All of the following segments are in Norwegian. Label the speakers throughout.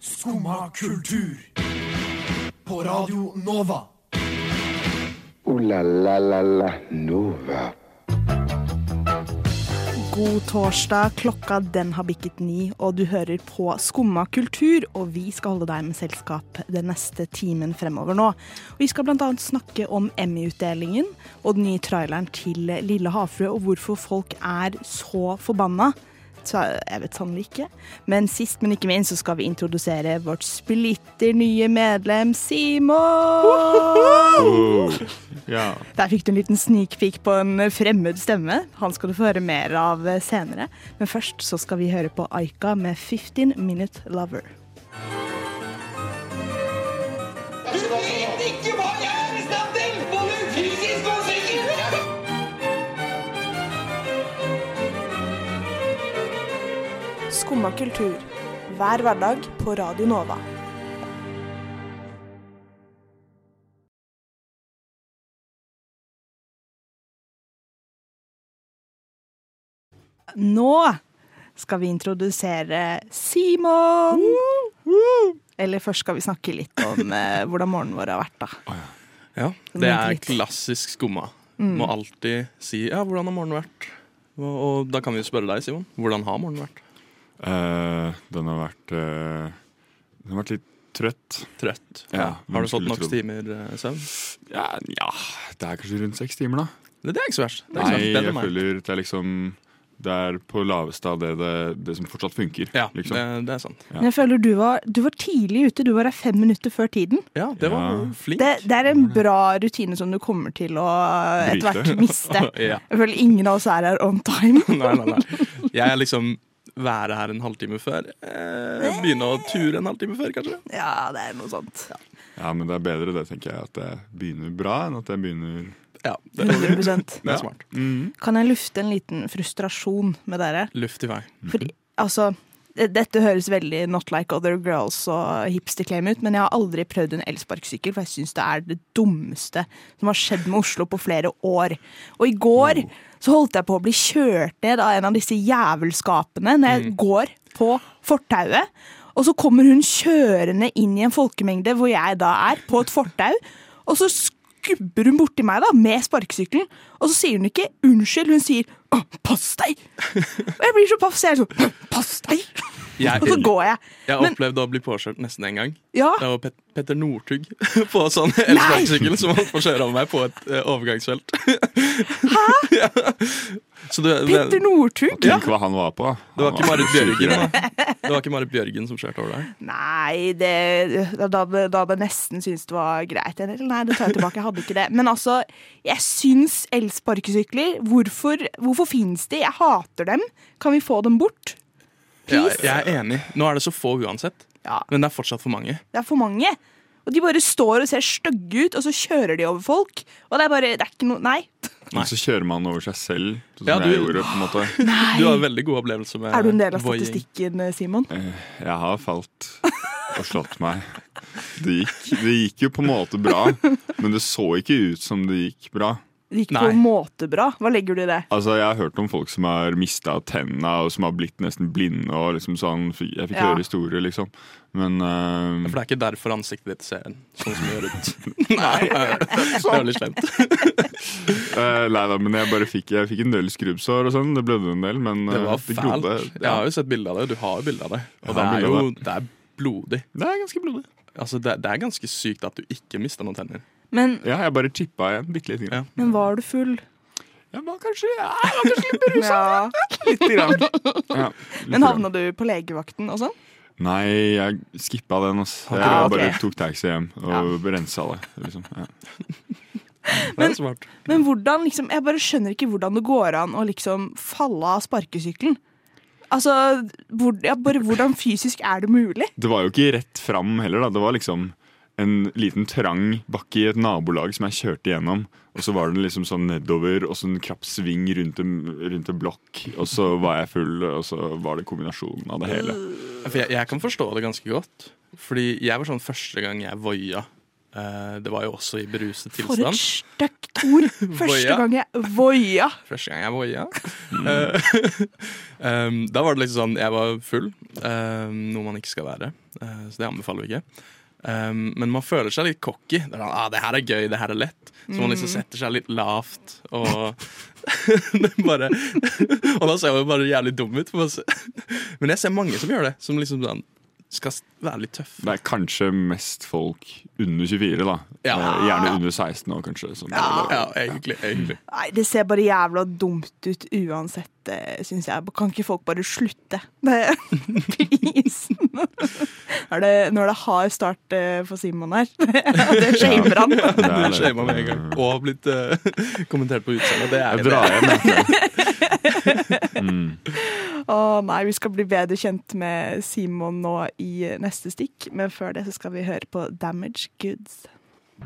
Speaker 1: Skumma kultur. På Radio Nova.
Speaker 2: Ooh la la la la Nova.
Speaker 3: God torsdag, klokka den har bikket ni, og du hører på Skumma kultur, og vi skal holde deg med selskap den neste timen fremover nå. Og vi skal bl.a. snakke om Emmy-utdelingen og den nye traileren til Lille havfrue, og hvorfor folk er så forbanna. Så jeg vet sannelig ikke. Men sist, men ikke minst, så skal vi introdusere vårt splitter nye medlem Simon!
Speaker 4: Ja.
Speaker 3: Der fikk du en liten sneak peek på en fremmed stemme. Han skal du få høre mer av senere. Men først så skal vi høre på Aika med 15 Minute Lover.
Speaker 5: Du vet ikke hva jeg er i stand til! Både fysisk og psykisk!
Speaker 6: Skumma kultur. Hver hverdag på Radio Nova.
Speaker 3: Nå skal vi introdusere Simon! Eller først skal vi snakke litt om eh, hvordan morgenen vår har vært, da.
Speaker 4: ja. Det er klassisk skumma. Må alltid si 'ja, hvordan har morgenen vært?' Og, og da kan vi jo spørre deg, Simon. Hvordan har morgenen vært?
Speaker 7: Eh, den har vært eh, Den har vært litt trøtt.
Speaker 4: Trøtt?
Speaker 7: Ja,
Speaker 4: har du
Speaker 7: hvem
Speaker 4: fått
Speaker 7: skulle
Speaker 4: nok
Speaker 7: tro det?
Speaker 4: timer eh, søvn?
Speaker 7: Ja, ja, det er kanskje rundt seks timer, da.
Speaker 4: Det, det er ikke så verst. Det er
Speaker 7: Nei,
Speaker 4: ikke så verst.
Speaker 7: jeg
Speaker 4: Bedre enn meg.
Speaker 7: føler det er liksom Det er på laveste av det, det, det som fortsatt funker.
Speaker 4: Ja,
Speaker 7: liksom.
Speaker 4: det, det er sant.
Speaker 7: Ja.
Speaker 3: Men jeg føler du var, du var tidlig ute. Du var her fem minutter før tiden.
Speaker 4: Ja, det var
Speaker 7: Ja.
Speaker 4: flink.
Speaker 3: Det, det er en bra rutine som du kommer til å etter
Speaker 7: Bryte.
Speaker 3: hvert miste.
Speaker 4: Ja.
Speaker 3: Jeg føler ingen av oss er her on time.
Speaker 4: Nei, nei, nei. Jeg er liksom være her en halvtime før. Eh, begynne å ture en halvtime før, kanskje.
Speaker 3: Ja, det er noe sånt.
Speaker 7: Ja, Men det er bedre det, tenker jeg. At det begynner bra, enn at jeg begynner
Speaker 4: Ja, det,
Speaker 3: 100
Speaker 4: det er smart.
Speaker 3: Kan jeg lufte en liten frustrasjon med dere?
Speaker 4: Luft i vei.
Speaker 3: Fordi, altså, det- dette høres veldig Not Like Other Girls og hipster-claim ut, men jeg har aldri prøvd en elsparkesykkel, for jeg syns det er det dummeste som har skjedd med Oslo på flere år. Og i går så holdt jeg på å bli kjørt ned av en av disse jævelskapene når jeg går på fortauet. Og så kommer hun kjørende inn i en folkemengde hvor jeg da er, på et fortau. Og så skubber hun borti meg da, med sparkesykkelen, og så sier hun ikke 'unnskyld', hun sier «Å, 'pass deg'. Og jeg blir så paff, så jeg er sånn Pass deg!
Speaker 4: Jeg,
Speaker 3: Og så går jeg.
Speaker 4: jeg har
Speaker 3: Men-
Speaker 4: opplevd å bli påkjørt nesten en gang.
Speaker 3: Ja.
Speaker 4: Det var Pet Petter Northug på sånn elsparkesykkel som holdt på å kjøre over meg på et eh, overgangsfelt. Hæ? Så det, det,
Speaker 3: Petter Northug?
Speaker 7: Tenk hva han var på.
Speaker 4: det var ikke Marit Bjørgen da. Det var ikke Marit Bjørgen som kjørte over deg.
Speaker 3: Nei, det, da, da, da hadde jeg nesten syntes det var greit. Eller nei, det tar jeg tilbake. Jeg hadde ikke det. Men altså, jeg syns elsparkesykler Hvorfor, hvorfor fins de? Jeg hater dem. Kan vi få dem bort?
Speaker 4: Ja,
Speaker 3: Please?
Speaker 4: jeg er enig. Nå er det så få uansett,
Speaker 3: Ja,
Speaker 4: men det er fortsatt for mange.
Speaker 3: det er for mange. Og de bare står og ser stygge ut, og så kjører de over folk. Og det er bare Det er ikke noe Nei.
Speaker 7: Og så kjører man over seg selv, sånn som
Speaker 4: Ja,
Speaker 7: jeg
Speaker 4: du-
Speaker 7: gjorde. på en måte
Speaker 4: Du har veldig god opplevelse med
Speaker 3: Er du en del av
Speaker 4: voying.
Speaker 3: statistikken, eh, Simon?
Speaker 4: Eh,
Speaker 7: Jeg har falt og slått meg. Det gikk, det gikk jo på en måte bra, men det så ikke ut som det gikk bra.
Speaker 3: Det gikk på
Speaker 4: Nei.
Speaker 3: en måte bra. Hva legger du i det?
Speaker 7: Altså, Jeg har hørt om folk som har mista tenna og som har blitt nesten blinde. og liksom sånn, f- Jeg fikk
Speaker 3: Ja.
Speaker 7: høre historier, liksom. Men eh,
Speaker 4: For det er ikke derfor ansiktet ditt ser sånn som det gjør ut. Nei, det er veldig slemt.
Speaker 7: eh, nei da, men jeg bare fikk, jeg fikk en del skrubbsår og sånn. Det blødde en del, men
Speaker 4: Det
Speaker 7: eh,
Speaker 4: var fælt.
Speaker 7: glodde.
Speaker 4: Jeg har jo sett bilde av det, du har jo bilde av det.
Speaker 7: Jeg
Speaker 4: Og det
Speaker 7: har
Speaker 4: er
Speaker 7: bilde av
Speaker 4: jo det er blodig.
Speaker 7: Det er ganske blodig.
Speaker 4: Altså, det, det er ganske sykt at du ikke mista noen tenner.
Speaker 3: Men,
Speaker 7: Ja, jeg bare chippa igjen bitte lite
Speaker 4: Ja.
Speaker 7: grann.
Speaker 3: men var du full?
Speaker 7: Jeg var kanskje, ja, jeg var kanskje litt
Speaker 4: sånn?
Speaker 7: beruset.
Speaker 3: Ja.
Speaker 7: Lite grann. Ja, lite
Speaker 3: Men havna
Speaker 7: grann.
Speaker 3: du på legevakten og sånn?
Speaker 7: Nei, jeg skippa den. ass. Jeg
Speaker 3: Ja, ok.
Speaker 7: bare tok taxi hjem og rensa det. liksom. Ja.
Speaker 4: Det er smart.
Speaker 3: Men hvordan liksom Jeg bare skjønner ikke hvordan det går an å liksom falle av sparkesykkelen. Altså, hvor, ja, bare hvordan fysisk er det mulig?
Speaker 7: Det var jo ikke rett fram heller. da. Det var liksom en liten trang bakke i et nabolag som jeg kjørte gjennom. Og så var det liksom sånn nedover og så en krapp sving rundt en, rundt en blokk. Og så var jeg full, og så var det kombinasjonen av det hele.
Speaker 3: Øh.
Speaker 4: For jeg, jeg kan forstå det ganske godt. Fordi jeg var sånn første gang jeg voia. eh, det var jo også i beruset
Speaker 3: For et
Speaker 4: tilstand.
Speaker 3: stygt ord. Første
Speaker 4: Voia.
Speaker 3: gang jeg voia.
Speaker 4: Første gang jeg voia.
Speaker 7: Mm.
Speaker 4: Eh, um, da var det liksom sånn Jeg var full, eh, noe man ikke skal være. eh, så det anbefaler vi ikke. Um, men man føler seg litt cocky. Det, er sånn, ah, det her er gøy, det her er lett. Så man
Speaker 7: Mm.
Speaker 4: liksom setter seg litt lavt og det er bare Og da ser man bare jævlig dum ut. for man ser- Men jeg ser mange som gjør det. Som liksom sånn skal være litt tøff.
Speaker 7: Det er kanskje mest folk under 24, da.
Speaker 4: Ja.
Speaker 7: Eh, Gjerne under 16 år, kanskje. Som,
Speaker 4: Ja, egentlig. egentlig.
Speaker 3: Nei, det ser bare jævla dumt ut uansett, eh, syns jeg. Kan ikke folk bare slutte? Det- Please! Er det, nå er det hard start eh, for Simon her. Det shamer han.
Speaker 7: Det er-
Speaker 4: Blitt shama med en gang. Og blitt eh, kommentert på utseendet. Det er
Speaker 7: Jeg drar hjem, jeg.
Speaker 3: Å nei, vi skal bli bedre kjent med Simon nå i eh, neste stikk, men før det så skal vi høre på Damage Goods.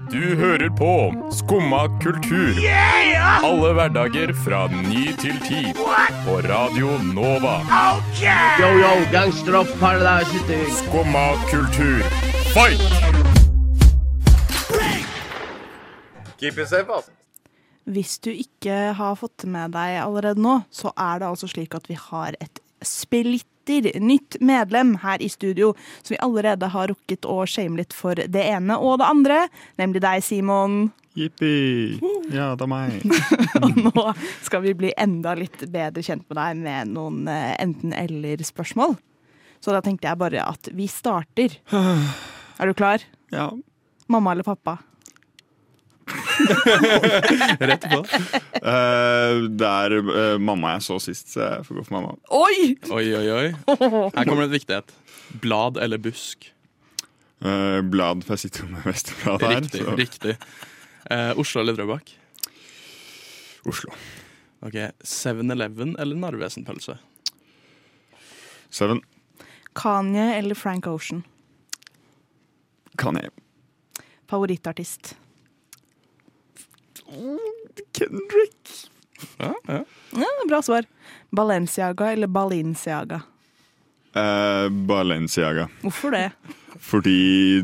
Speaker 8: Du hører på Skumma kultur. Alle hverdager fra ny til ti. På Radio Nova. Skumma kultur. Fight!
Speaker 3: Hvis du ikke har fått det med deg allerede nå, så er det altså slik at vi har et splitter nytt medlem her i studio, som vi allerede har rukket å shame litt for det ene og det andre, nemlig deg, Simon.
Speaker 7: Jippi! Ja, det er meg.
Speaker 3: Og nå skal vi bli enda litt bedre kjent med deg med noen eh, enten-eller-spørsmål. Så da tenkte jeg bare at vi starter. Er du klar?
Speaker 7: Ja.
Speaker 3: Mamma eller pappa?
Speaker 4: rett på.
Speaker 7: Eh, det er eh, mamma jeg så sist, så jeg får gå for mamma.
Speaker 3: Oi!
Speaker 4: Oi, oi, oi. Her kommer det et viktighet. Blad eller busk.
Speaker 7: Eh, blad, for jeg sitter jo med Vesterblad her.
Speaker 4: Riktig.
Speaker 7: så-
Speaker 4: riktig. Eh, Oslo eller Drøbak?
Speaker 7: Oslo.
Speaker 4: Ok, 7-Eleven eller Narvesen-pølse?
Speaker 7: Seven.
Speaker 3: Kanye eller Frank Ocean?
Speaker 7: Kan jeg
Speaker 3: Favorittartist?
Speaker 7: Kendrick?
Speaker 4: Ja, ja.
Speaker 3: Ja, bra svar. Balenciaga eller Balinciaga?
Speaker 7: Eh, Balenciaga.
Speaker 3: Hvorfor det?
Speaker 7: Fordi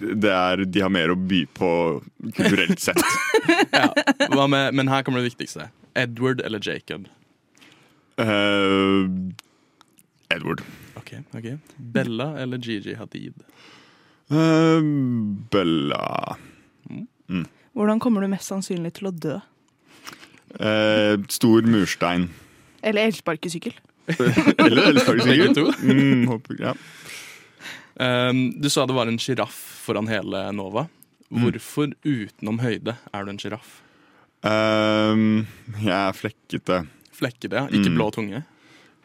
Speaker 7: det er, de har mer å by på kulturelt sett.
Speaker 4: Hva med, men her kommer det viktigste. Edward eller Jacob?
Speaker 7: Eh, Edward.
Speaker 4: Ok, ok. Bella eller Gigi Hadid?
Speaker 7: Eh, Bella
Speaker 3: Hvordan kommer du mest sannsynlig til å dø?
Speaker 7: Eh, Stor murstein.
Speaker 3: Eller elsparkesykkel?
Speaker 7: Eller
Speaker 4: Begge
Speaker 7: elsparkesykkel.
Speaker 4: to.
Speaker 7: Mm, håper- ja.
Speaker 4: Um, du sa det var en sjiraff foran hele Nova.
Speaker 7: Mm.
Speaker 4: Hvorfor utenom høyde er du en sjiraff?
Speaker 7: Ehm, jeg er flekkete.
Speaker 4: Flekkete, ja. Ikke
Speaker 7: Mm.
Speaker 4: blå tunge?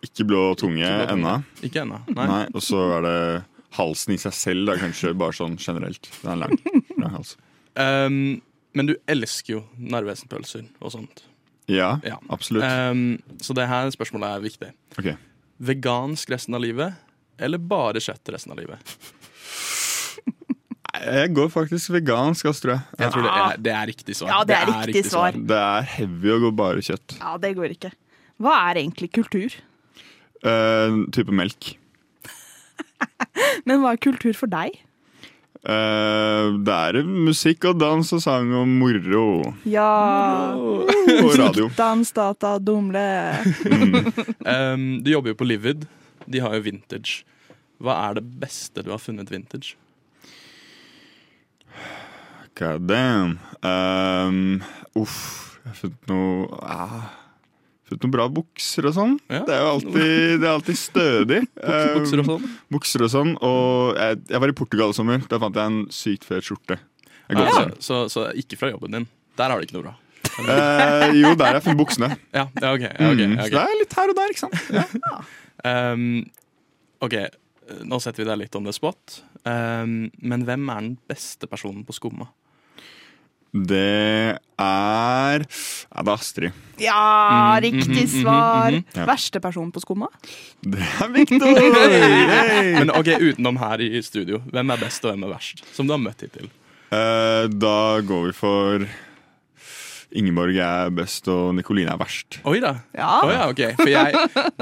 Speaker 7: Ikke blå tunge
Speaker 4: Ikke blå tunge.
Speaker 7: ennå.
Speaker 4: Ikke ennå. Nei.
Speaker 7: Nei, Og så er det halsen i seg selv, da, kanskje bare sånn generelt. Den er lang. lang hals.
Speaker 4: Um, men du elsker jo Narvesen-pølser og sånt.
Speaker 7: Ja,
Speaker 4: Ja.
Speaker 7: absolutt.
Speaker 4: Um, så det her spørsmålet er viktig.
Speaker 7: Ok.
Speaker 4: Vegansk resten av livet, eller bare kjøtt resten av livet?
Speaker 7: Jeg går faktisk vegansk, ass, tror jeg.
Speaker 4: Jeg tror det er, det er riktig svar.
Speaker 3: Ja, det er riktig svar.
Speaker 7: Det er heavy å gå bare kjøtt.
Speaker 3: Ja, det går ikke. Hva er egentlig kultur?
Speaker 7: Eh, type melk.
Speaker 3: Men hva er kultur for deg?
Speaker 7: Eh, det er musikk og dans og sang og moro.
Speaker 3: Ja
Speaker 7: Og radio.
Speaker 3: Dans, data, dumle
Speaker 4: Um, du jobber jo på Livid. De har jo vintage. Hva er det beste du har funnet vintage?
Speaker 7: God damn. Um, uff, jeg har funnet noe ah, Funnet noen bra bukser og sånn.
Speaker 4: Ja.
Speaker 7: Det er jo alltid, det er alltid stødig. Um,
Speaker 4: Bukser og sånn?
Speaker 7: bukser og sånn. Og jeg, jeg var i Portugal i sommer. Da fant jeg en sykt fet skjorte. Jeg går
Speaker 4: Nei,
Speaker 7: for
Speaker 4: så, Altså, så, så ikke fra jobben din. Der har du ikke noe bra.
Speaker 7: den. Eh, jo, der har jeg funnet buksene.
Speaker 4: Ja, ja ok. Ja, ok,
Speaker 7: Mm,
Speaker 4: ja,
Speaker 7: Så
Speaker 4: ok.
Speaker 7: det er litt her og der, ikke sant.
Speaker 4: Um, ok, nå setter vi deg litt on the spot. Um, men hvem er den beste personen på skumma?
Speaker 7: Det er Ja, det er Astrid.
Speaker 3: Ja, riktig svar
Speaker 7: mhm.
Speaker 3: Verste person på skomma?
Speaker 7: Det er Victor! Yay!
Speaker 4: Men ok, utenom her i studio. Hvem er best og hvem er verst? Som du har møtt hittil.
Speaker 7: Eh, da går vi for Ingeborg er best, og Nikoline er verst.
Speaker 4: Oi da.
Speaker 3: Ja.
Speaker 4: Å ja, ok. For jeg,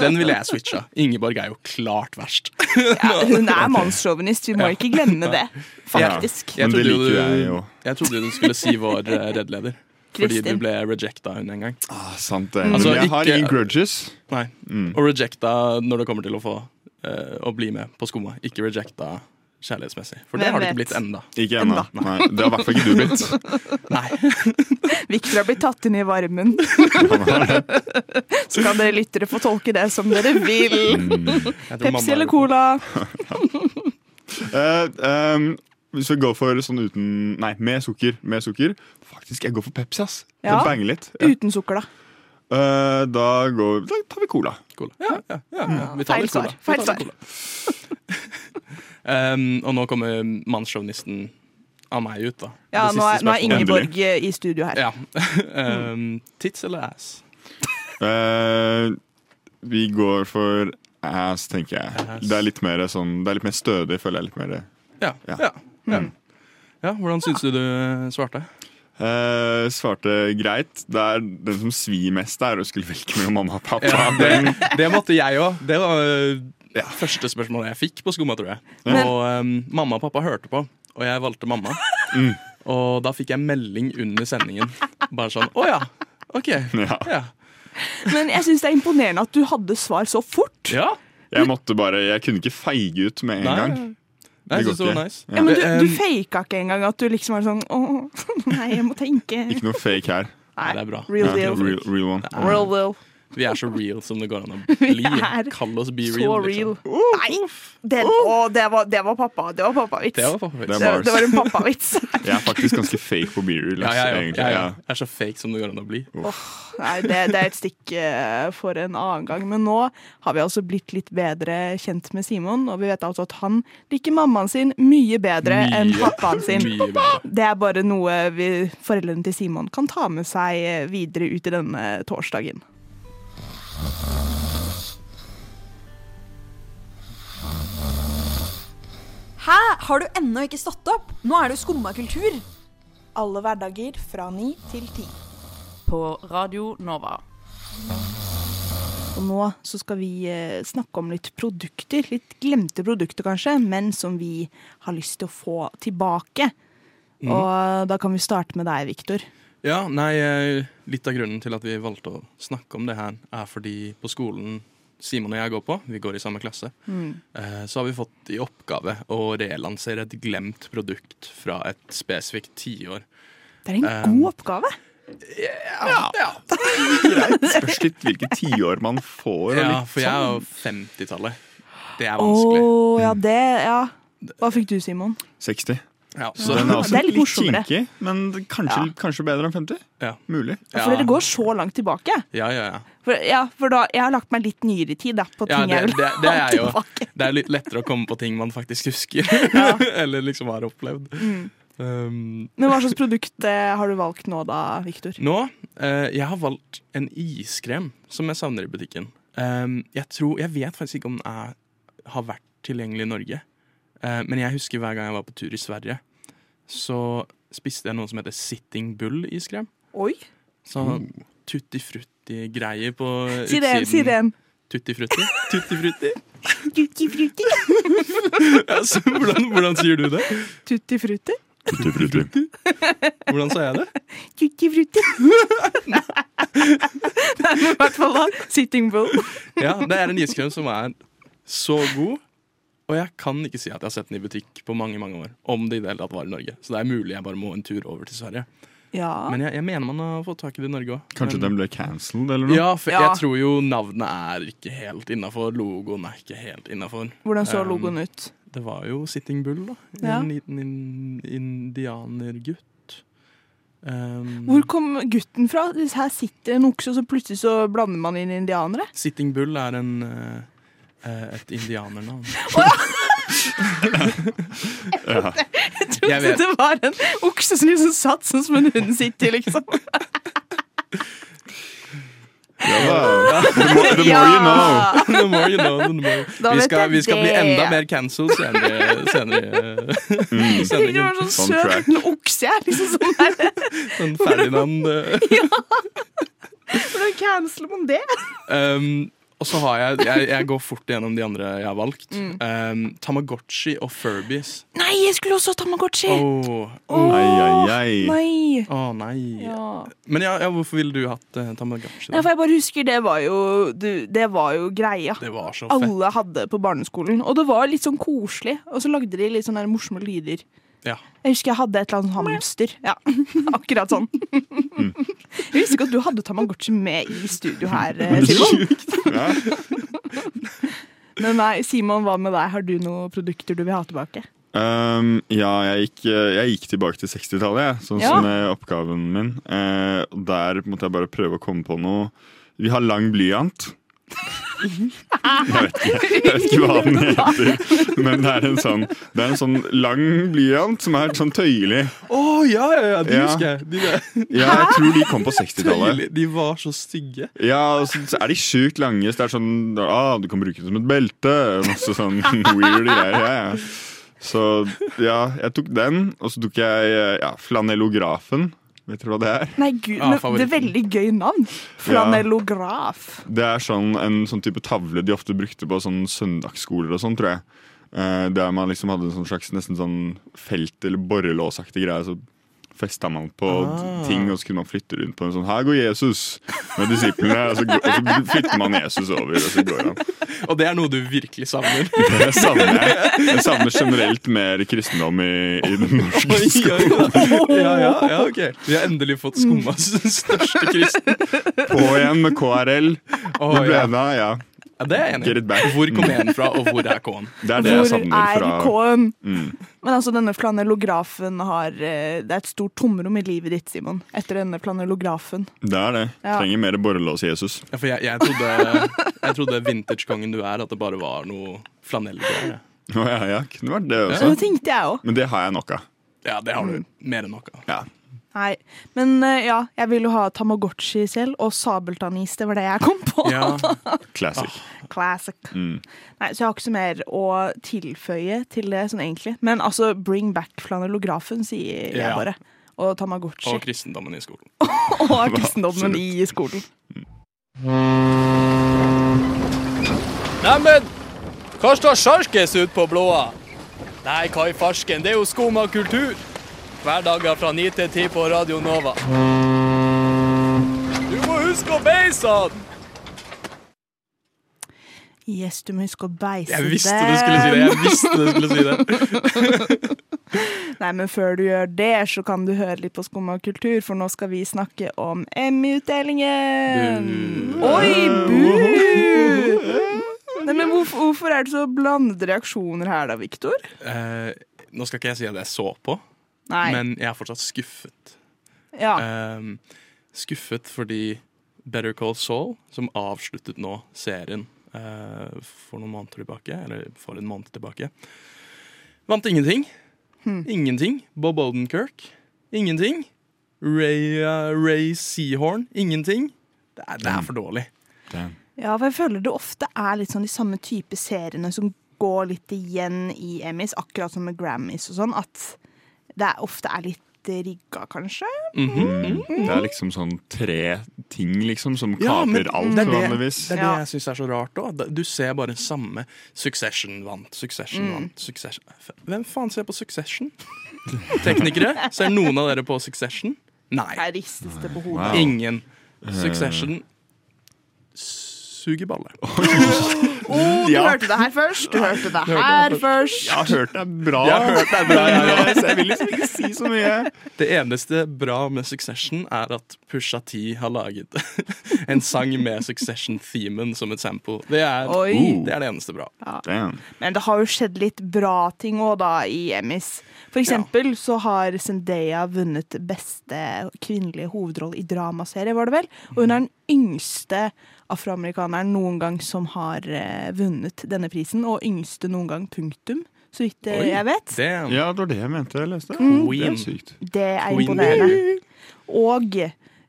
Speaker 4: den ville jeg switcha. Ingeborg er jo klart verst.
Speaker 3: Ja, hun er mannssjåvinist, vi må ikke glemme det Faktisk
Speaker 7: Ja, men
Speaker 4: Jeg
Speaker 7: det
Speaker 4: trodde jo
Speaker 7: liker
Speaker 4: du-
Speaker 7: jeg jo.
Speaker 4: Jeg trodde du skulle si vår eh, reddleder. fordi
Speaker 3: Kristin.
Speaker 4: du ble rejecta hun en gang.
Speaker 7: Ah, sant det.
Speaker 4: Altså,
Speaker 7: Men jeg har
Speaker 4: ikke-
Speaker 7: ingen grudges.
Speaker 4: Nei.
Speaker 7: Mm.
Speaker 4: Og rejecta når det kommer til å få eh, å bli med på skumma. Ikke rejecta kjærlighetsmessig. For det
Speaker 3: Hvem
Speaker 4: har det ikke
Speaker 3: vet?
Speaker 4: blitt enda.
Speaker 7: Ikke ennå. Nei, Det har i hvert fall ikke du blitt.
Speaker 4: Nei.
Speaker 3: Victor har blitt tatt inn i varmen. Så kan dere lyttere få tolke det som dere
Speaker 4: Mm,
Speaker 3: vil.
Speaker 4: Jeg tror mamma-
Speaker 3: Pepsi eller cola?
Speaker 7: Eh, ehm, hvis vi går for sånn uten Nei, med sukker. Med sukker. Faktisk, jeg går for Pepsi, ass.
Speaker 3: Ja.
Speaker 7: Den banger litt. Ja.
Speaker 3: Uten sukker, da.
Speaker 7: Eh, da, går, da tar vi cola.
Speaker 4: Cola. Ja, ja, ja, ja. Vi
Speaker 3: Mm.
Speaker 4: tar
Speaker 3: Feil
Speaker 4: litt cola.
Speaker 3: svar. Feil
Speaker 4: Vi tar litt cola. um, og nå kommer mannssjåvinisten av meg ut, da.
Speaker 3: Ja,
Speaker 4: Det
Speaker 3: nå
Speaker 4: siste
Speaker 3: er, nå er
Speaker 4: spørsmålet.
Speaker 3: Ingeborg eh, i studio her.
Speaker 4: Ja. um, tits eller ass?
Speaker 7: Eh, vi går for ass, tenker jeg.
Speaker 4: Ass.
Speaker 7: Det er litt mer sånn Det er litt mer stødig, føler jeg. litt mer
Speaker 4: Ja.
Speaker 7: Ja.
Speaker 4: ja. ja. Ja, Hvordan syns du du svarte?
Speaker 7: Eh, svarte greit. Det er den som svir mest, er å skulle velge mellom mamma og pappa. Den,
Speaker 4: Det måtte jeg òg. Det var øh, første spørsmålet jeg fikk på skumma, tror jeg. Og øhm, mamma og pappa hørte på, og jeg valgte mamma. Og da fikk jeg melding under sendingen. Bare sånn Å ja. OK.
Speaker 7: ja.
Speaker 4: Ja.
Speaker 3: Men jeg syns det er imponerende at du hadde svar så fort.
Speaker 4: ja.
Speaker 7: Jeg måtte bare Jeg kunne ikke feige ut med en
Speaker 4: Nei.
Speaker 7: gang.
Speaker 4: Nei, jeg syns det
Speaker 7: går
Speaker 4: var
Speaker 7: ikke.
Speaker 4: nice.
Speaker 3: Ja, men du, du
Speaker 4: Um,
Speaker 3: faka ikke engang at du liksom var sånn Åh, nei, jeg må tenke.
Speaker 7: Ikke noe fake her.
Speaker 4: Nei, det er bra.
Speaker 3: Real
Speaker 7: Ja,
Speaker 3: deal.
Speaker 7: real, real one.
Speaker 3: Real deal.
Speaker 4: Vi er så real som det går an å
Speaker 3: Vi
Speaker 4: bli. liksom.
Speaker 3: er
Speaker 4: Kall oss be
Speaker 3: Så
Speaker 4: real.
Speaker 3: real.
Speaker 4: Liksom.
Speaker 3: Nei, den, å, det, var, det var pappa. Det var pappavits.
Speaker 4: Det var pappa
Speaker 7: Det
Speaker 4: vits.
Speaker 7: er
Speaker 3: det,
Speaker 7: bars.
Speaker 3: det var en pappavits.
Speaker 7: Jeg er faktisk ganske fake på beer.
Speaker 4: Ja, ja, ja,
Speaker 7: egentlig.
Speaker 4: ja, ja.
Speaker 7: Ja.
Speaker 4: Jeg er så fake som det går an å bli.
Speaker 3: Nei, det, det er et stikk eh, for en annen gang. Men nå har vi altså blitt litt bedre kjent med Simon, og vi vet altså at han liker mammaen sin mye bedre enn
Speaker 4: Mye.
Speaker 3: pappaen sin.
Speaker 4: Mye bedre.
Speaker 3: Det er bare noe vi, foreldrene til Simon kan ta med seg eh, videre ut i denne torsdagen.
Speaker 9: Hæ? Har du ennå ikke stått opp? Nå er det jo skumma kultur.
Speaker 6: Alle hverdager fra ni til ti.
Speaker 10: på Radio Nova.
Speaker 3: Og nå så skal vi eh, snakke om litt produkter, litt glemte produkter kanskje, men som vi har lyst til å få tilbake.
Speaker 4: Mm.
Speaker 3: Og da kan vi starte med deg, Viktor.
Speaker 4: Ja, nei, eh, litt av grunnen til at vi valgte å snakke om det her, er fordi på skolen Simon og jeg går på, vi går i samme klasse,
Speaker 3: Mm.
Speaker 4: eh, så har vi fått i oppgave å relansere et glemt produkt fra et spesifikt tiår.
Speaker 3: Det er en
Speaker 4: Eh,
Speaker 3: god oppgave.
Speaker 7: Spørs litt hvilket tiår man får. og
Speaker 4: Ja,
Speaker 7: litt
Speaker 4: for jeg er jo
Speaker 7: sånn.
Speaker 4: 50-tallet. Det er
Speaker 3: Å,
Speaker 4: vanskelig.
Speaker 3: ja, det, ja. Hva fikk du, Simon?
Speaker 7: 60.
Speaker 4: Ja, så,
Speaker 7: Den er
Speaker 3: Det er
Speaker 7: også
Speaker 3: litt
Speaker 7: litt,
Speaker 3: morsommere.
Speaker 7: kinkig, men kanskje, kanskje bedre enn 50.
Speaker 4: ja,
Speaker 7: Mulig.
Speaker 3: Ja. For
Speaker 4: Ja.
Speaker 3: dere går så langt tilbake.
Speaker 4: ja, ja. ja.
Speaker 3: For, ja, for da, jeg har lagt meg litt nyere i tid da, på
Speaker 4: ja
Speaker 3: ting
Speaker 4: det,
Speaker 3: jeg vil
Speaker 4: det, det
Speaker 3: ha
Speaker 4: er jo
Speaker 3: tilbake.
Speaker 4: Det er litt lettere å komme på ting man faktisk husker, eller liksom har opplevd.
Speaker 3: Mm.
Speaker 4: Um,
Speaker 3: Men hva slags produkt eh, har du valgt nå da, Viktor?
Speaker 4: Nå, eh, jeg har valgt en iskrem som jeg savner i butikken. Ehm, jeg tror, jeg vet faktisk ikke om den er, har vært tilgjengelig i Norge. Eh, men jeg husker hver gang jeg var på tur i Sverige, så spiste jeg noe som heter Sitting Bull-iskrem.
Speaker 3: Oi,
Speaker 4: Så tutti frutti-greier på
Speaker 3: si det igjen,
Speaker 4: utsiden.
Speaker 3: si det igjen.
Speaker 4: Tutti frutti? Tutti frutti?
Speaker 3: Tutti frutti.
Speaker 4: Ja, så hvordan, hvordan sier du det?
Speaker 3: Tutti frutti.
Speaker 4: Hvordan sa jeg det?
Speaker 3: Tutti frutti. Nei, men i hvert fall da. Sitting bull.
Speaker 4: Ja, det er en iskrem som er så god. Og jeg kan ikke si at jeg har sett den i butikk på mange mange år. Om det i det hele tatt var i Norge. Så det er mulig jeg bare må en tur over til Sverige.
Speaker 3: Ja.
Speaker 4: Men jeg, jeg mener man har fått tak i det i Norge òg.
Speaker 7: Kanskje den ble cancelled eller noe?
Speaker 4: Ja, for
Speaker 3: Ja.
Speaker 4: jeg tror jo navnet er ikke helt innafor. Logoen er ikke helt innafor.
Speaker 3: Hvordan så
Speaker 4: Um,
Speaker 3: logoen ut?
Speaker 4: Det var jo Sitting Bull, da.
Speaker 3: Ja.
Speaker 4: En liten in indianergutt. Um,
Speaker 3: Hvor kom gutten fra? Her sitter en okse, og så plutselig så blander man inn indianere.
Speaker 4: Sitting Bull er en eh, eh, et indianernavn. Jeg vet.
Speaker 3: Det var en okse som liksom satt sånn som en hund sitter, liksom.
Speaker 7: Ja, da. The more, the more you know.
Speaker 3: Ja.
Speaker 4: The more you know, the more.
Speaker 3: Da
Speaker 4: Vi
Speaker 3: vet
Speaker 4: skal,
Speaker 3: jeg
Speaker 4: vi skal bli
Speaker 3: det.
Speaker 4: enda mer cancelled senere, eh, senere i
Speaker 3: Jeg tenkte det var
Speaker 4: sendingen.
Speaker 3: en sånn
Speaker 7: Sånn
Speaker 3: søt
Speaker 7: track.
Speaker 3: liten okse, jeg. Liksom sånn der.
Speaker 4: Sånn Ferdinand eh,
Speaker 3: Hvordan canceler man det?
Speaker 4: um, og Og så har jeg, jeg Jeg går fort gjennom de andre jeg har valgt.
Speaker 3: Mm.
Speaker 4: Um, Tamagotchi og Furbies.
Speaker 3: Nei, jeg skulle også ha Tamagotchi!
Speaker 4: Å
Speaker 3: Åh,
Speaker 7: Ai, ai, ai.
Speaker 3: nei.
Speaker 4: å, nei.
Speaker 3: Ja.
Speaker 4: Men ja, ja, hvorfor ville du hatt eh, Tamagotchi?
Speaker 3: Nei,
Speaker 4: Da?
Speaker 3: for jeg bare husker, det var jo, du, det var jo greia.
Speaker 4: Det var så fett.
Speaker 3: Alle hadde på barneskolen, og det var litt sånn koselig. Og så lagde de litt sånne der morsomme lyder.
Speaker 4: Ja.
Speaker 3: Jeg husker jeg hadde et eller annet sånn hamster. Ja, akkurat sånn. Jeg visste ikke at du hadde Tamagotchi med i studio her, eh, Simon. Men nei, Simon, hva med deg? Har du noen produkter du vil ha tilbake?
Speaker 7: Um, ja, jeg gikk, eh, jeg gikk tilbake til 60-tallet, jeg, sånn
Speaker 3: Ja.
Speaker 7: som er oppgaven min. Eh, og der måtte jeg bare prøve å komme på noe. Vi har lang blyant. Jeg vet ikke, jeg vet ikke hva den heter, men det er en sånn, det er en sånn lang blyant som er sånn tøyelig.
Speaker 4: Å ja, ja, ja, de
Speaker 7: Ja.
Speaker 4: husker jeg. De, der.
Speaker 7: Ja, jeg tror de kom på 60-tallet.
Speaker 4: Tøyelig. de var så stygge.
Speaker 7: Ja, og så så er de sjukt lange. Så det er sånn ah, Du kan bruke det som et belte. Masse sånn weird greier. Ja, ja. Så ja, jeg tok den. Og så tok jeg eh, ja, flanellografen. Vet dere hva det er?
Speaker 3: Nei, gud,
Speaker 4: Ja,
Speaker 3: men det
Speaker 4: favoritten.
Speaker 3: er veldig gøy navn. Flanellograf.
Speaker 7: Det er sånn en sånn type tavle de ofte brukte på sånn søndagsskoler og sånn, tror jeg. Eh, der man liksom hadde en sånn slags nesten sånn felt- eller borrelåsaktig greie. Så festa man på
Speaker 4: Ah.
Speaker 7: ting, og så kunne man flytte rundt på en sånn Her går Jesus! Med disiplene. Og så, og så flytter man Jesus over, og så går han.
Speaker 4: Og det er noe du virkelig savner.
Speaker 7: Jeg savner, jeg savner generelt mer kristendom i, i den norske
Speaker 4: Oi,
Speaker 7: skolen.
Speaker 4: oi, oi. Ja, ja, ja, ok Vi har endelig fått
Speaker 7: Mm.
Speaker 4: skummas største kristen.
Speaker 7: På igjen med KRL.
Speaker 4: Å,
Speaker 7: Det ble
Speaker 4: ja.
Speaker 7: da, ja.
Speaker 4: Ja, det er jeg
Speaker 7: Get it
Speaker 4: enig i.
Speaker 7: back.
Speaker 4: Hvor kom en fra, og hvor er K-en?
Speaker 7: Det er det jeg
Speaker 3: Hvor
Speaker 7: savner
Speaker 3: er
Speaker 7: fra
Speaker 3: K-en?
Speaker 7: mm.
Speaker 3: Men altså, denne flanellografen har eh, Det er et stort tomrom i livet ditt, Simon. Etter denne flanellografen.
Speaker 7: Det er det.
Speaker 3: Ja.
Speaker 7: Trenger mer borrelås Jesus.
Speaker 4: Ja, for jeg, jeg trodde, jeg trodde vintagekongen du er, at det bare var noe flanellgreier.
Speaker 7: Å ja, ja, kunne vært det
Speaker 3: Så
Speaker 7: også.
Speaker 3: det tenkte jeg òg.
Speaker 7: Men det har jeg nok av.
Speaker 4: Ja, det har
Speaker 7: Mm.
Speaker 4: du mer enn nok av.
Speaker 7: Ja.
Speaker 3: Nei. Men eh, ja, jeg ville jo ha Tamagotchi selv, og sabeltannis. Det var det jeg kom på.
Speaker 4: Ja.
Speaker 7: Classic.
Speaker 4: Ah.
Speaker 3: Classic.
Speaker 4: Mm.
Speaker 3: Nei, så jeg har ikke så mer å tilføye til det, sånn egentlig. Men altså, bring back flanellografen, sier jeg
Speaker 4: Ja.
Speaker 3: bare. Og Tamagotchi.
Speaker 4: Og kristendommen i skolen.
Speaker 3: Og kristendommen i skolen.
Speaker 8: Neimen, hva står sjarkes ut på blåa? Nei, hva i farsken, det er jo skum av kultur. Hverdager fra 9 til 10 på Radio Nova. Du må huske å beise han!
Speaker 3: Yes, du må huske å beise
Speaker 4: Jeg visste du skulle si det! Jeg visste du skulle si det
Speaker 3: Nei, men før du gjør det, så kan du høre litt på Skum og kultur, for nå skal vi snakke om Emmy-utdelingen. Oi, bu! Nei, men hvorfor, hvorfor er det så blandede reaksjoner her da, Viktor?
Speaker 4: Eh, Nå skal ikke jeg si at jeg så på,
Speaker 3: Nei.
Speaker 4: men jeg er fortsatt skuffet.
Speaker 3: ja.
Speaker 4: Ehm, skuffet fordi Better Call Saul, som avsluttet nå serien eh, for noen måneder tilbake, eller for en måned tilbake, vant ingenting. Ingenting. Bob Odenkirk, ingenting. Ray, eh, Ray Seahorn, ingenting. Det er, det er for dårlig.
Speaker 3: ja, for jeg føler det ofte er litt sånn de samme type seriene som går litt igjen i Emmys, akkurat som med Grammys og sånn, at det er- ofte er litt eh, rigga, kanskje?
Speaker 7: Mm. Det er liksom sånn tre ting liksom som
Speaker 4: Ja, men
Speaker 7: kaper alt,
Speaker 4: det er det,
Speaker 7: vanligvis.
Speaker 4: Det er det
Speaker 3: Ja.
Speaker 4: jeg syns er så rart òg. Du ser bare samme Succession vant, Succession vant, Succession Hvem faen ser på Succession? Teknikere? Ser noen av dere på Succession? Nei.
Speaker 3: Jeg ristes det på hodet.
Speaker 7: Wow.
Speaker 4: Ingen. Succession suger balle.
Speaker 3: Å, du
Speaker 7: Ja.
Speaker 3: hørte det her først! Du hørte det her først!
Speaker 7: Jeg har hørt det er bra.
Speaker 4: Jeg har hørt det er bra, jeg
Speaker 7: Ja, så jeg vil liksom ikke si så mye.
Speaker 4: Det eneste bra med Succession er at Pusha T har laget en sang med Succession-themen som et sample. Det er,
Speaker 3: Oi.
Speaker 4: det er det eneste bra.
Speaker 7: Damn.
Speaker 3: Men det har jo skjedd litt bra ting òg, da, i Emmys. For eksempel så har Zendaya vunnet beste kvinnelige hovedrolle i dramaserie, var det vel? Og hun er den yngste afroamerikaneren noen gang som har eh, vunnet denne prisen. Og yngste noen gang, punktum, så vidt eh,
Speaker 4: Oi.
Speaker 3: jeg vet.
Speaker 4: Damn.
Speaker 7: Ja, det var det jeg mente jeg leste. Det
Speaker 4: Queen.
Speaker 7: er sykt.
Speaker 3: Det er
Speaker 4: Queen.
Speaker 3: imponerende. Og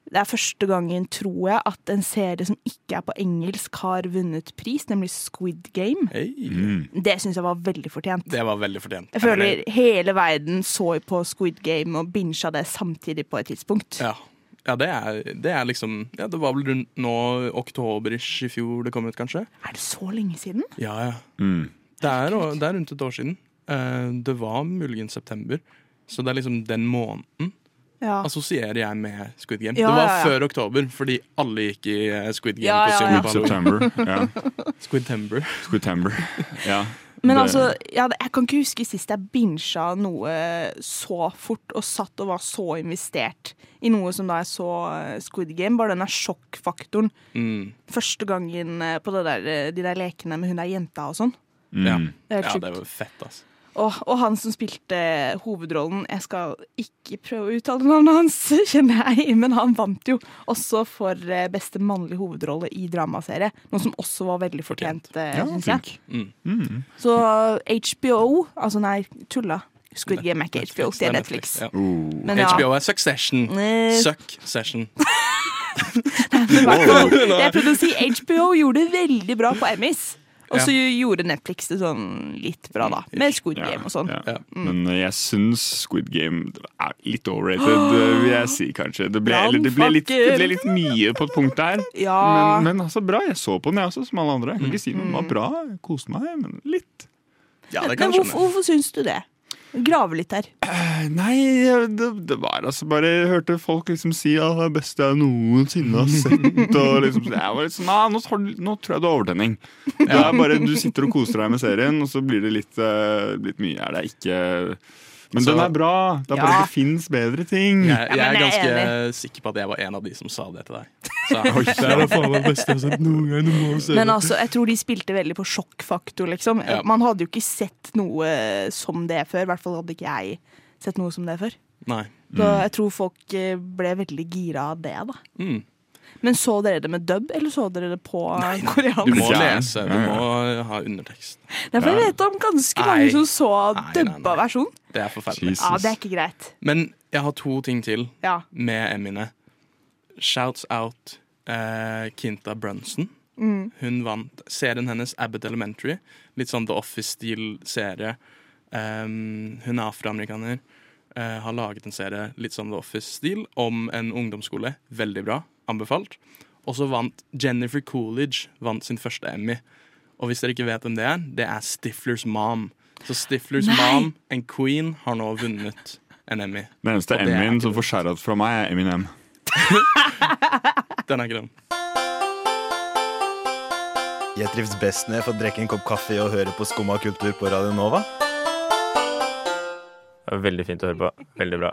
Speaker 3: det er første gangen, tror jeg, at en serie som ikke er på engelsk, har vunnet pris, nemlig Squid Game.
Speaker 4: Hey. Mm.
Speaker 3: Det syns jeg var veldig fortjent.
Speaker 4: Det var veldig fortjent.
Speaker 3: Jeg føler hele verden så på Squid Game og bincha det samtidig på et tidspunkt.
Speaker 4: Ja. Ja, det er, det er liksom ja, Det var vel rundt nå, oktober-ish i fjor det kom ut, kanskje?
Speaker 3: Er det så lenge siden?
Speaker 4: Ja, ja.
Speaker 7: Mm.
Speaker 4: Det er, det er rundt et år siden. Eh, Det var muligens september. Så det er liksom den måneden
Speaker 3: Ja.
Speaker 4: assosierer jeg med Squid Game.
Speaker 3: Ja,
Speaker 4: det var
Speaker 3: ja, ja.
Speaker 4: før oktober, fordi alle gikk i eh, Squid
Speaker 3: Ja, ja, ja.
Speaker 4: Game-kostyme.
Speaker 7: September. Ja.
Speaker 4: Squidtember.
Speaker 7: Squidtember. Ja.
Speaker 3: Men
Speaker 7: Det-
Speaker 3: altså, ja, det- jeg kan ikke huske sist jeg binsja noe så fort og satt og var så investert i noe som da jeg så eh, Squid Game. Bare den der sjokkfaktoren.
Speaker 4: Mm.
Speaker 3: Første gangen eh, på det der, eh, de der lekene med hun der jenta og sånn.
Speaker 7: Mm.
Speaker 4: Ja.
Speaker 3: Det er helt
Speaker 4: ja,
Speaker 3: sjukt.
Speaker 4: det var fett, altså.
Speaker 3: Og, og han som spilte hovedrollen, jeg skal ikke prøve å uttale navnet hans, kjenner jeg, men han vant jo også for eh, beste mannlige hovedrolle i dramaserie. Noe som også var veldig fortjent, eh,
Speaker 7: Ja,
Speaker 3: syns jeg.
Speaker 7: flink.
Speaker 3: Så HBO, altså nei, tulla. Squid Game er ikke HBO, det er Netflix.
Speaker 4: Ja.
Speaker 7: Mm.
Speaker 3: Men ja,
Speaker 4: HBO er Succession.
Speaker 3: Eh.
Speaker 4: Suck session.
Speaker 3: det jeg prøvde å si, HBO gjorde det veldig bra på Emmys. Og så gjorde Netflix det sånn litt bra, da. Med Squid
Speaker 7: Ja,
Speaker 3: Game og sånn.
Speaker 7: ja. Men eh, jeg syns Squid Game er litt overrated, eh, vil jeg si kanskje. Det ble, eller, det ble, litt, det ble litt mye på et punkt der.
Speaker 3: Ja.
Speaker 7: Men, men altså, bra. Jeg så på den, jeg også, som alle andre. Jeg kan ikke si den var bra. Jeg koste meg, men litt.
Speaker 4: Ja, det kan
Speaker 3: Men
Speaker 4: jeg
Speaker 3: hvorfor,
Speaker 4: skjønne.
Speaker 3: hvorfor syns du det? Grave litt her.
Speaker 7: Eh, Nei, det, det var altså bare Jeg hørte folk liksom si at det er det beste jeg noensinne har sett. Og liksom, jeg var litt sånn, «Nei, nå, tar du- nå tror jeg det er overtenning. Det er bare, du sitter og koser deg med serien, og så blir det litt, eh, litt mye her. Det er ikke Men
Speaker 4: Så-
Speaker 7: den er bra. Det er bare
Speaker 3: Ja.
Speaker 7: at det fins bedre ting.
Speaker 4: Jeg, jeg
Speaker 3: Ja,
Speaker 4: er
Speaker 3: men jeg er
Speaker 4: ganske sikker på at jeg var en av de som sa det til deg. Så,
Speaker 3: Men altså, jeg tror de spilte veldig på sjokkfaktor, liksom.
Speaker 4: Ja.
Speaker 3: Man hadde jo ikke sett noe som det før. I hvert fall hadde ikke jeg sett noe som det før.
Speaker 4: nei.
Speaker 3: Så jeg tror folk eh, ble veldig gira av det, da.
Speaker 4: Mm.
Speaker 3: Men så dere det med dub, eller så dere det på koreansk?
Speaker 4: Du må
Speaker 7: Ja.
Speaker 4: lese, du
Speaker 7: Ja, ja.
Speaker 4: må ha undertekst.
Speaker 3: Ja, for jeg vet om ganske
Speaker 4: Nei.
Speaker 3: mange som så
Speaker 4: Nei, nei,
Speaker 3: dubba
Speaker 4: nei.
Speaker 3: versjon.
Speaker 4: Det er forferdelig.
Speaker 3: Ja, det er ikke greit.
Speaker 4: Men jeg har to ting til
Speaker 3: Ja.
Speaker 4: med Emmyene. Shouts out eh, Kinta Brunson. Hun vant serien hennes Abbott Elementary. Litt sånn The Office-stil serie. Um, hun er afroamerikaner. eh, har laget en serie litt sånn The Office-stil om en ungdomsskole. Veldig bra. Anbefalt. Og så vant Jennifer Coolidge vant sin første Emmy. Og hvis dere ikke vet hvem det er, det er Stiflers mom. Så Stiflers
Speaker 3: Nei.
Speaker 4: mom, en queen, har nå vunnet en Emmy.
Speaker 7: Den eneste
Speaker 4: Og det er
Speaker 7: M-en
Speaker 4: ikke
Speaker 7: som
Speaker 4: bra.
Speaker 7: får skjærat fra meg, er Eminem.
Speaker 4: Den er ikke den.
Speaker 11: Jeg trives best når jeg får drikke en kopp kaffe og høre på Skumma kultur på Radio Nova.
Speaker 8: Veldig fint å høre på. Veldig bra.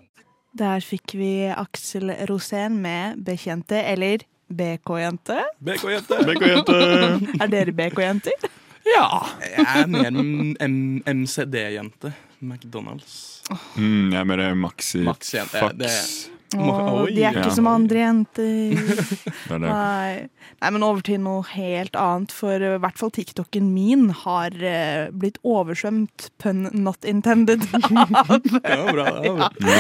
Speaker 3: Der fikk vi Aksel Rosén med Bekjente, eller BK-jente.
Speaker 4: BK-jente.
Speaker 7: Bekk og jente.
Speaker 3: Er dere BK-jenter?
Speaker 4: Ja. Jeg er mer M- M- MCD-jente. McDonald's.
Speaker 7: Mm, jeg er mer maxi
Speaker 4: Maxi, ja, det-
Speaker 7: fax. Det,
Speaker 4: det-
Speaker 3: Åh,
Speaker 4: Oi.
Speaker 3: de er
Speaker 7: Ja.
Speaker 3: ikke som andre jenter.
Speaker 7: er det.
Speaker 3: Nei. Nei, men over til noe helt annet, for eh, i hvert fall TikToken min har eh, blitt oversvømt, pun not intended,
Speaker 4: Det var bra. Det var bra.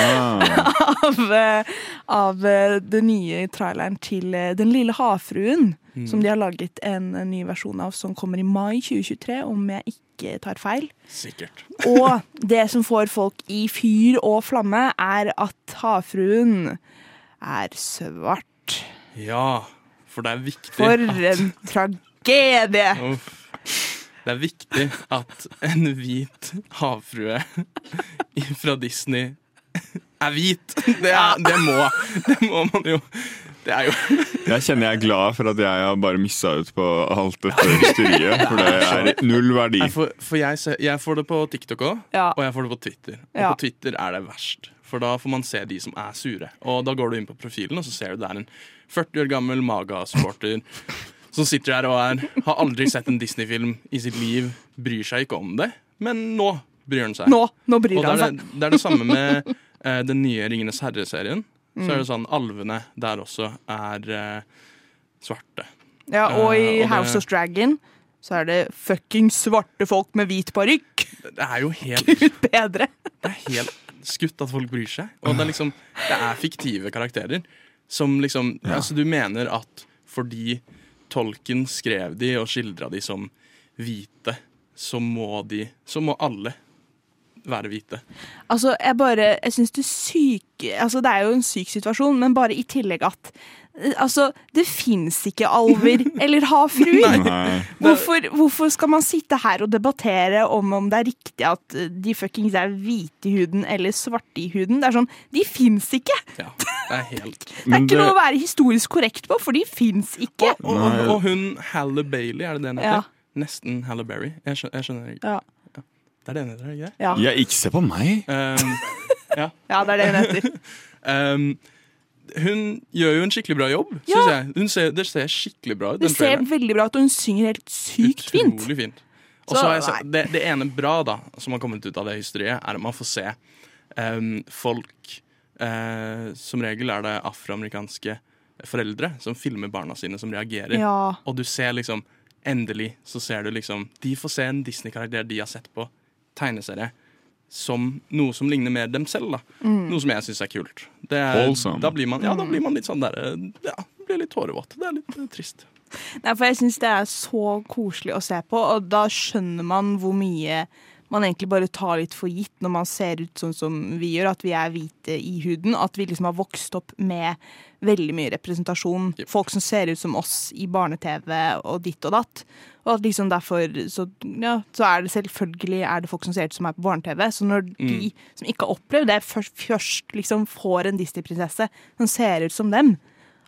Speaker 7: Ja.
Speaker 3: av, eh, av eh, den nye traileren til eh, Den lille havfruen,
Speaker 4: Mm.
Speaker 3: som de har laget en eh, ny versjon av, som kommer i mai 2023, om jeg ikke tar feil.
Speaker 4: Sikkert.
Speaker 3: Og det som får folk i fyr og flamme, er at havfruen er svart.
Speaker 4: Ja, for det er viktig
Speaker 3: For
Speaker 4: at,
Speaker 3: en tragedie!
Speaker 4: Uff. Det er viktig at en hvit havfrue fra Disney er hvit. Det, er, det, må, det må man jo Det er jo
Speaker 7: Jeg kjenner jeg er glad for at jeg har bare missa ut på alt dette hysteriet, for det er null verdi.
Speaker 4: Nei, for, for jeg, ser, jeg får det på TikTok òg,
Speaker 3: Ja.
Speaker 4: og jeg får det på Twitter. Og
Speaker 3: Ja.
Speaker 4: på Twitter er det verst, for da får man se de som er sure. Og da går du inn på profilen, og så ser du det er en 40 år gammel Maga-supporter som sitter der og er, har aldri sett en Disney-film i sitt liv, bryr seg ikke om det, men nå bryr han seg.
Speaker 3: Nå, nå bryr
Speaker 4: og det
Speaker 3: han
Speaker 4: er
Speaker 3: seg.
Speaker 4: det, det er det samme med eh, den nye Ringenes herre-serien. Så er det
Speaker 3: Mm.
Speaker 4: sånn alvene der også er eh, svarte.
Speaker 3: Ja, og
Speaker 4: Eh, og
Speaker 3: i
Speaker 4: det-
Speaker 3: House of Dragon så er det fucking svarte folk med hvit parykk.
Speaker 4: Det er jo helt
Speaker 3: Gud bedre!
Speaker 4: det er helt skutt at folk bryr seg. Og det er liksom, det er fiktive karakterer. Som liksom, altså Du mener at fordi Tolkien skrev de og skildra de som hvite, så må de Så må alle være hvite.
Speaker 3: Altså, jeg bare Jeg syns det syke Altså, det er jo en syk situasjon, men bare i tillegg at eh, Altså, det fins ikke alver eller havfruer.
Speaker 7: Nei.
Speaker 3: Hvorfor, hvorfor skal man sitte her og debattere om om det er riktig at eh, de fuckings er hvite i huden eller svarte i huden? Det er sånn, De fins ikke!
Speaker 4: Det er helt
Speaker 3: Det er ikke noe å være historisk korrekt på, for de fins ikke.
Speaker 4: Og, og, og hun Halle Bailey, er det det hun
Speaker 3: Ja.
Speaker 4: heter? Nesten Halle Berry. Jeg skjønner, jeg skjønner ikke.
Speaker 3: Ja.
Speaker 4: Det er det hun heter, er det ikke det?
Speaker 3: Ja.
Speaker 7: Ja, ikke se på meg!
Speaker 4: Um, ja.
Speaker 3: Ja, det er det hun heter.
Speaker 4: Um, hun gjør jo en skikkelig bra jobb,
Speaker 3: Ja.
Speaker 4: syns jeg. Hun ser, det ser skikkelig bra ut.
Speaker 3: Det
Speaker 4: den
Speaker 3: ser
Speaker 4: traileren.
Speaker 3: veldig bra ut, og hun synger helt sykt fint.
Speaker 4: Utrolig fint. Og
Speaker 3: Så,
Speaker 4: så har jeg sett,
Speaker 3: nei.
Speaker 4: det, det ene bra da som har kommet ut av det hysteriet, er at man får se em, folk eh, Som regel er det afroamerikanske foreldre som filmer barna sine som reagerer.
Speaker 3: Ja.
Speaker 4: Og du ser liksom Endelig så ser du liksom De får se en Disney-karakter de har sett på tegneserie, som noe som ligner mer dem selv. da
Speaker 3: Mm.
Speaker 4: Noe som jeg syns er kult. Det er,
Speaker 7: Wholesome.
Speaker 4: da, blir man, ja, da blir man litt sånn der eh, Ja, blir litt tårevåt. Det er litt eh, trist.
Speaker 3: Nei, for jeg syns det er så koselig å se på, og da skjønner man hvor mye man egentlig bare tar litt for gitt når man ser ut sånn som vi gjør, at vi er hvite i huden. At vi liksom har vokst opp med veldig mye representasjon. Folk som ser ut som oss i barne-TV og ditt og datt. Og at liksom derfor så, ja, så er det selvfølgelig er det folk som ser ut som er på barne-TV. Så når de
Speaker 4: Mm.
Speaker 3: som ikke har opplevd det, først, først liksom får en Disney-prinsesse som ser ut som dem,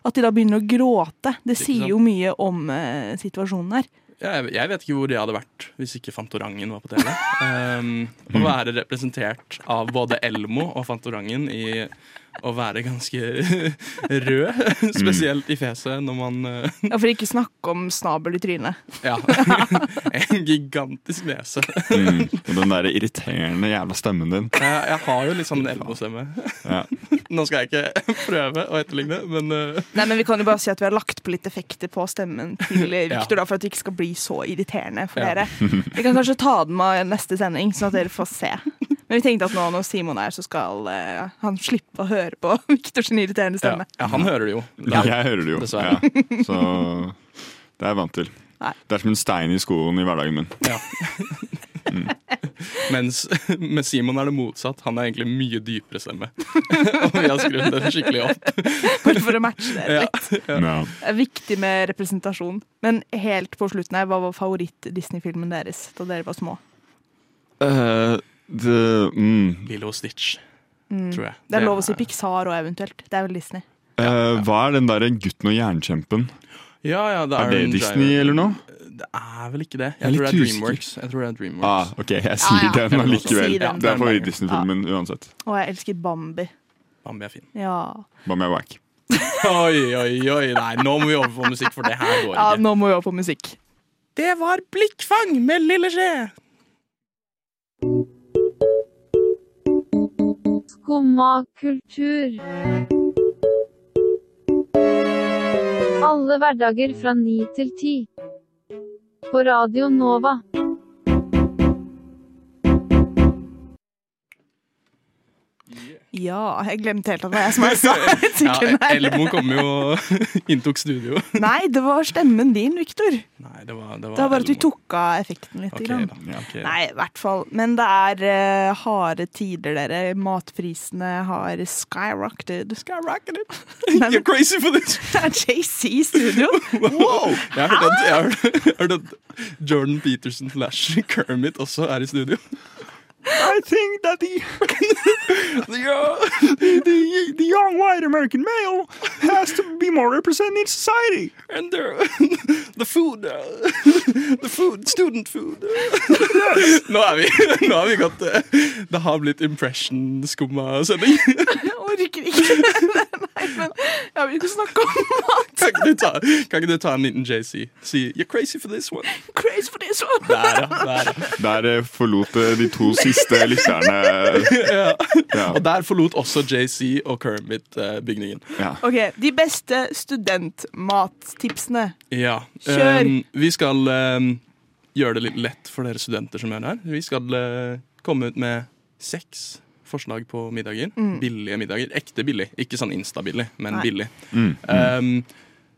Speaker 3: at de da begynner å gråte. Det sier jo mye om eh, situasjonen her.
Speaker 4: Jeg, jeg vet ikke hvor jeg hadde vært hvis ikke Fantorangen var på TV. Um, å være representert av både Elmo og Fantorangen i å være ganske rød, spesielt i fjeset når man uh,
Speaker 3: Ja, For ikke snakke om snabel i trynet.
Speaker 4: Ja. En gigantisk nese.
Speaker 7: Mm. Og den der irriterende jævla stemmen din.
Speaker 4: Jeg, jeg har jo litt sånn Elmo-stemme.
Speaker 7: Ja.
Speaker 4: Nå skal jeg ikke prøve å etterligne, men uh,
Speaker 3: Nei, men Vi kan jo bare si at vi har lagt på litt effekter på stemmen til
Speaker 4: Ja.
Speaker 3: Victor, da, for at det ikke skal bli så irriterende for
Speaker 4: Ja.
Speaker 3: dere. Vi kan kanskje ta den med neste sending, sånn at dere får se. Men vi tenkte at nå når Simon er her, så skal eh, han slippe å høre på Victors irriterende
Speaker 4: ja,
Speaker 3: stemme.
Speaker 4: ja, han hører det jo.
Speaker 7: Jeg hører det jo.
Speaker 4: Dessverre.
Speaker 7: Ja. Så det er jeg vant til.
Speaker 3: Nei.
Speaker 7: Det er som en stein i skoen i hverdagen min.
Speaker 4: Ja. Mens med Simon er det motsatt. Han er egentlig mye dypere stemme. Og vi har skrudd den skikkelig opp.
Speaker 3: Bare for å matche det
Speaker 4: Ja.
Speaker 3: litt. Det er viktig med representasjon. Men helt på slutten her, hva var favoritt-Disney-filmen deres da dere var små?
Speaker 7: Eh, det, mm.
Speaker 4: Lilo og Stitch,
Speaker 3: Mm.
Speaker 4: tror jeg.
Speaker 3: Det er lov å si Pixar og eventuelt. Det er vel Disney.
Speaker 7: Eh, hva er den derre gutten og jernkjempen?
Speaker 4: Ja, ja, det
Speaker 7: Er
Speaker 4: er,
Speaker 7: det
Speaker 4: en
Speaker 7: Disney
Speaker 4: driver.
Speaker 7: eller noe?
Speaker 4: Det er vel ikke det.
Speaker 7: Jeg er
Speaker 4: Jeg tror det
Speaker 7: litt
Speaker 4: er
Speaker 7: usikker.
Speaker 4: Dreamworks. Jeg tror det er Dreamworks.
Speaker 7: Ah, ok, jeg sier
Speaker 3: Ja, ja.
Speaker 7: den
Speaker 3: Si
Speaker 7: allikevel.
Speaker 3: den.
Speaker 7: Det er favoritt-Disney-filmen uansett.
Speaker 3: Og jeg elsker Bambi.
Speaker 4: Bambi er fin.
Speaker 3: Ja.
Speaker 7: Hva med Wack?
Speaker 4: Oi, oi, oi. Nei, nå må vi over på musikk, for det her går
Speaker 3: ja,
Speaker 4: ikke.
Speaker 3: nå må vi over på musikk.
Speaker 4: Det var Blikkfang med Lille Skje.
Speaker 12: Skumma kultur. Alle hverdager fra ni til ti. På Radio Nova.
Speaker 3: Ja, jeg glemte helt at det var jeg som er sa
Speaker 4: Ja, Elmo kom jo og inntok studio.
Speaker 3: Nei, det var stemmen din, Viktor.
Speaker 4: Nei, det var, det var
Speaker 3: Det var bare at vi
Speaker 4: Elmo.
Speaker 3: tok av effekten litt.
Speaker 4: Ok,
Speaker 3: grann.
Speaker 4: da. Ja, ok, da.
Speaker 3: Nei, i hvert fall. Men det er eh, harde tider, dere. Matprisene har skyrocketed.
Speaker 4: Skyrocketed.
Speaker 3: Nei, men-
Speaker 4: You're crazy for this!
Speaker 3: Det er JC i studio.
Speaker 4: Wow! Jeg har hørt at, jeg har hørt- hørt at Jordan Peterson slash Kermit også er i studio.
Speaker 5: I think that the,
Speaker 4: the,
Speaker 5: the, the young white American male has to be more represented in society.
Speaker 4: And the, the food, uh, the food, student food. Nå er vi, nå er vi godt eh, Det har blitt impression-skumma sending.
Speaker 3: Jeg orker ikke. Nei, men jeg vil ikke snakke om mat.
Speaker 4: Kan ikke du ta, kan ikke du ta en liten JC? Si 'You're crazy for this one'.
Speaker 3: Crazy for this one.
Speaker 4: Der, ja. Der.
Speaker 7: Der eh, forlot eh, de to siste lytterne
Speaker 4: ja.
Speaker 7: Ja.
Speaker 4: Og der forlot også JC og Kermit eh, bygningen.
Speaker 7: Ja.
Speaker 3: Ok, De beste studentmattipsene.
Speaker 4: Ja.
Speaker 3: Kjør!
Speaker 4: ehm, vi skal ehm, gjøre det litt lett for dere studenter som gjør det her. Vi skal eh, komme ut med seks forslag på middager.
Speaker 8: Mm.
Speaker 4: Billige middager. Ekte billig. Ikke sånn instabillig, men
Speaker 8: Nei.
Speaker 4: billig.
Speaker 8: Mm,
Speaker 4: Ehm,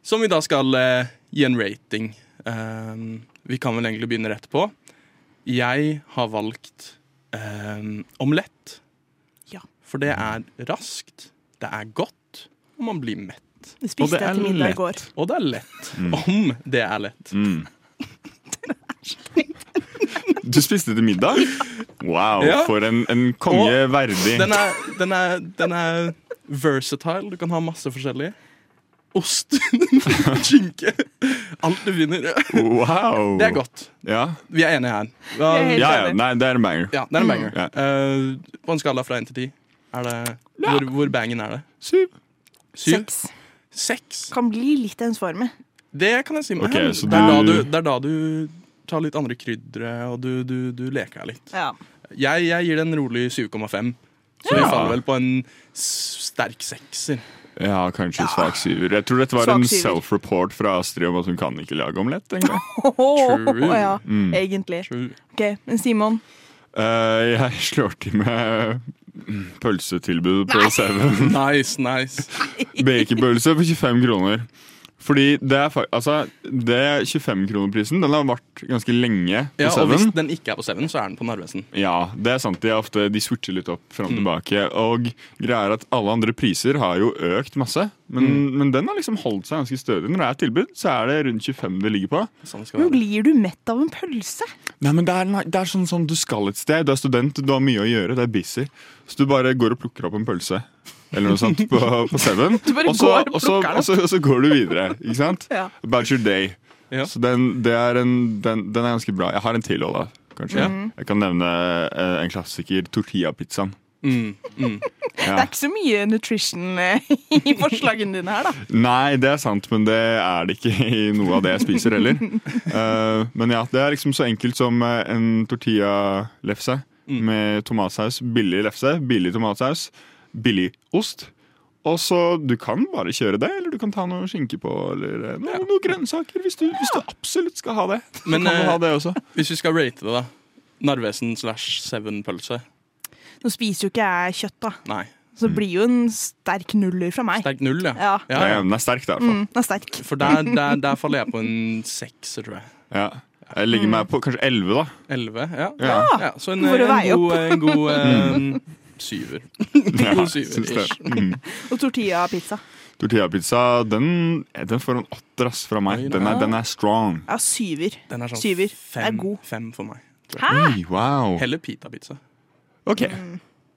Speaker 4: som vi da skal eh, gi en rating. Ehm, vi kan vel egentlig begynne rett på. Jeg har valgt eh, omelett.
Speaker 3: Ja.
Speaker 4: For det er raskt, det er godt, og man blir mett.
Speaker 3: Det spiste
Speaker 4: Og
Speaker 3: jeg til middag i går.
Speaker 4: lett. Og det er lett.
Speaker 7: Mm.
Speaker 4: Om det er lett.
Speaker 7: Du spiste til middag? Wow,
Speaker 4: Ja.
Speaker 7: for en, en konge
Speaker 4: Og
Speaker 7: verdig.
Speaker 4: Den er, den, er, den er versatile. Du kan ha masse forskjellige. Ost, skinke Alt du finner.
Speaker 7: Wow.
Speaker 4: Det er godt.
Speaker 7: Ja.
Speaker 4: Vi er enige her. Um,
Speaker 7: Ja, ja, nei, det er en banger.
Speaker 4: Ja, det er en banger.
Speaker 7: Ja.
Speaker 4: Eh, på en skala fra 1 til 10, er det, hvor, hvor bangen er det?
Speaker 7: Syv.
Speaker 4: Syv?
Speaker 3: Kan bli litt ensformig.
Speaker 4: Det kan jeg si meg
Speaker 7: Ok,
Speaker 4: hen.
Speaker 7: så
Speaker 4: det, er da
Speaker 7: du-
Speaker 4: du, det er da du tar litt andre kryddere, og du, du, du leker deg litt.
Speaker 3: Ja.
Speaker 4: Jeg, jeg gir det en rolig 7,5. Så vi
Speaker 7: Ja.
Speaker 4: faller vel på en s- sterk sekser.
Speaker 7: Ja, kanskje svak syver. Jeg tror dette var en
Speaker 4: Svak syver.
Speaker 7: self-report fra Astrid om at hun kan ikke lage omelett. en gang. True.
Speaker 3: ja,
Speaker 7: Mm.
Speaker 3: egentlig. Ok, Men Simon,
Speaker 7: Eh, jeg slår til med mm, pølsetilbud på Seven.
Speaker 4: Nice, nice.
Speaker 7: Bakerpølse for 25 kroner. Fordi det er fak- altså, det 25-kronerprisen den har vært ganske lenge på
Speaker 4: Ja, og hvis
Speaker 7: Seven.
Speaker 4: den ikke er på Seven, så er den på Narvesen.
Speaker 7: Ja, det er sant. De, er ofte, de switcher litt opp fram og
Speaker 4: Mm.
Speaker 7: tilbake. Og greia er at alle andre priser har jo økt masse, men,
Speaker 4: Mm.
Speaker 7: men den har liksom holdt seg ganske stødig. Når det er et tilbud, så er det rundt 25 det ligger på.
Speaker 4: Sånn
Speaker 3: nå blir du mett av en pølse.
Speaker 7: Nei, men det er, nei, det er sånn, sånn du skal et sted. Du er student, du har mye å gjøre, det er busy. Så du bare går og plukker opp en pølse eller noe sånt på, på Seven.
Speaker 3: Du bare
Speaker 7: og så-
Speaker 3: går og
Speaker 7: og så-
Speaker 3: plukker den
Speaker 7: og så- og så går du videre. Ikke sant?
Speaker 3: Ja.
Speaker 7: About your day. Så den, det er en, den, den er ganske bra. Jeg har en til, Olav. Kanskje.
Speaker 3: Ja. Mhm.
Speaker 7: Jeg kan nevne eh, en klassiker. Tortilla-pizzaen.
Speaker 3: Det
Speaker 7: Ja.
Speaker 3: er ikke så mye nutrition eh, i forslagene dine her, da.
Speaker 7: Nei, det er sant, men det er det ikke i noe av det jeg spiser heller. Eh, men ja, det er liksom så enkelt som eh, en tortilla-lefse med tomatsaus. Billig lefse, billig tomatsaus, billig ost. Og så Du kan bare kjøre det, eller du kan ta noe skinke på, eller eh, noe, noe grønnsaker hvis du, hvis du absolutt skal ha det. Så
Speaker 4: Men
Speaker 7: kan du ha det.
Speaker 4: også. hvis vi skal rate det, da. Narvesen slash Seven-pølse.
Speaker 3: Nå spiser jo ikke jeg kjøtt, da.
Speaker 4: Nei.
Speaker 3: Så det blir jo en sterk nuller fra meg.
Speaker 4: Sterk null, ja.
Speaker 3: Ja.
Speaker 7: Ja, ja, den er sterk, da. i hvert fall.
Speaker 3: Mm, den er sterk.
Speaker 4: For der, der, der faller jeg på en sekser, tror jeg.
Speaker 7: Ja. Jeg legger meg på kanskje elleve, da.
Speaker 4: Elleve, ja.
Speaker 7: Ja. Mm.
Speaker 4: Så en,
Speaker 3: For å veie
Speaker 4: en god,
Speaker 3: opp.
Speaker 4: en god eh, syver. En
Speaker 7: Ja,
Speaker 4: god syver
Speaker 7: syns det.
Speaker 4: ish.
Speaker 7: Mm.
Speaker 3: Og tortilla-pizza.
Speaker 7: Tortillapizza, den, den får en åtter ass, fra meg. Den er, den er strong.
Speaker 3: Ja, syver.
Speaker 4: Den er sånn
Speaker 3: syver.
Speaker 4: fem,
Speaker 3: er god.
Speaker 4: fem for meg.
Speaker 7: Oi, wow.
Speaker 4: Heller pitapizza.
Speaker 7: Ok.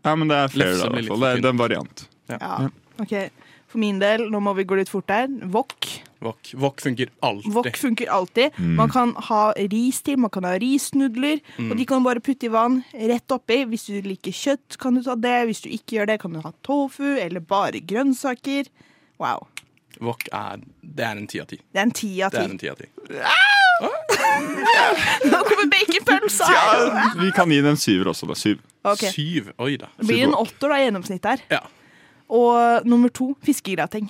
Speaker 7: Ja, men det er flere,
Speaker 4: Lefse
Speaker 7: da, i
Speaker 4: blir
Speaker 7: hvert
Speaker 4: litt
Speaker 7: fall.
Speaker 4: for
Speaker 7: Det er-
Speaker 4: tynn.
Speaker 7: det er en variant.
Speaker 3: Ja. Ok, For min del, nå må vi gå litt fort der. Wok.
Speaker 4: Wok. Wok funker alltid.
Speaker 3: Wok funker alltid.
Speaker 4: Mm.
Speaker 3: Man kan ha ris til, man kan ha risnudler.
Speaker 4: Mm.
Speaker 3: Og de kan du bare putte i vann rett oppi. Hvis du liker kjøtt, kan du ta det. Hvis du ikke gjør det, kan du ha tofu eller bare grønnsaker. Wow.
Speaker 4: Wok er Det er en ti av ti.
Speaker 3: Det er en ti av
Speaker 4: Det er
Speaker 3: ti.
Speaker 4: en ti av ti.
Speaker 3: Nå kommer baconpølsa! her.
Speaker 7: Ja, vi kan gi den en syver også, da. Syv.
Speaker 3: Ok.
Speaker 4: Syv. Oi da.
Speaker 3: Det blir en åtter da, i gjennomsnitt her.
Speaker 4: Ja.
Speaker 3: Og nummer to fiskegrateng.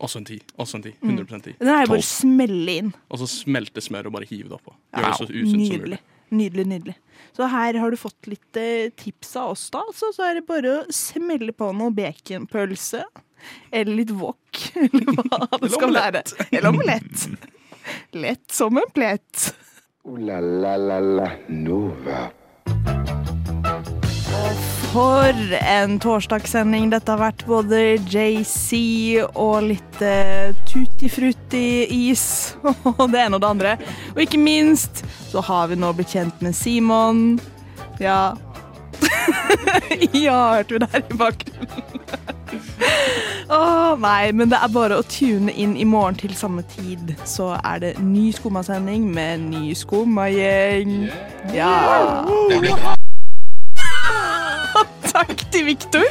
Speaker 4: Også en ti. Også en ti. 100 ti.
Speaker 3: Den er jo bare å smelle inn.
Speaker 4: Og så smelte smør og bare hive det oppå. Gjør det så usunt som
Speaker 3: Nydelig.
Speaker 4: mulig.
Speaker 3: Nydelig, nydelig. Så her har du fått litt eh, tips av oss, da. altså. Så, så er det bare å smelle på noe baconpølse. Eller litt wok, eller hva det
Speaker 2: Eller
Speaker 3: skal være.
Speaker 2: omelett.
Speaker 3: Eller omelett. Lett som en plett.
Speaker 2: Ooh la la la la Nova.
Speaker 3: For en torsdagssending dette har vært. Både JC og litt eh, tutti frutti-is og det ene og det andre. Og ikke minst så har vi nå blitt kjent med Simon. Ja. ja, hørte vi der i bakgrunnen. Å nei, men det er bare å tune inn i morgen til samme tid. Så er det ny skummasending med ny skummagjeng. Ja. Takk til Viktor.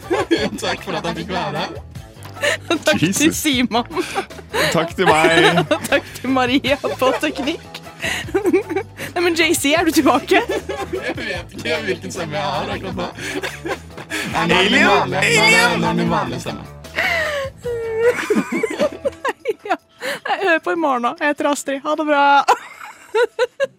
Speaker 4: Takk for at jeg fikk være her.
Speaker 3: Takk til Simon.
Speaker 7: Takk til meg.
Speaker 3: Takk til Maria på teknikk. Nei, men JC, er du tilbake?
Speaker 4: Jeg vet ikke hvilken stemme jeg har akkurat nå.
Speaker 5: Alien! Alien!
Speaker 4: Det er min vanlige stemme.
Speaker 3: Jeg hører på i morgen, da. Jeg heter Astrid. Ha det bra.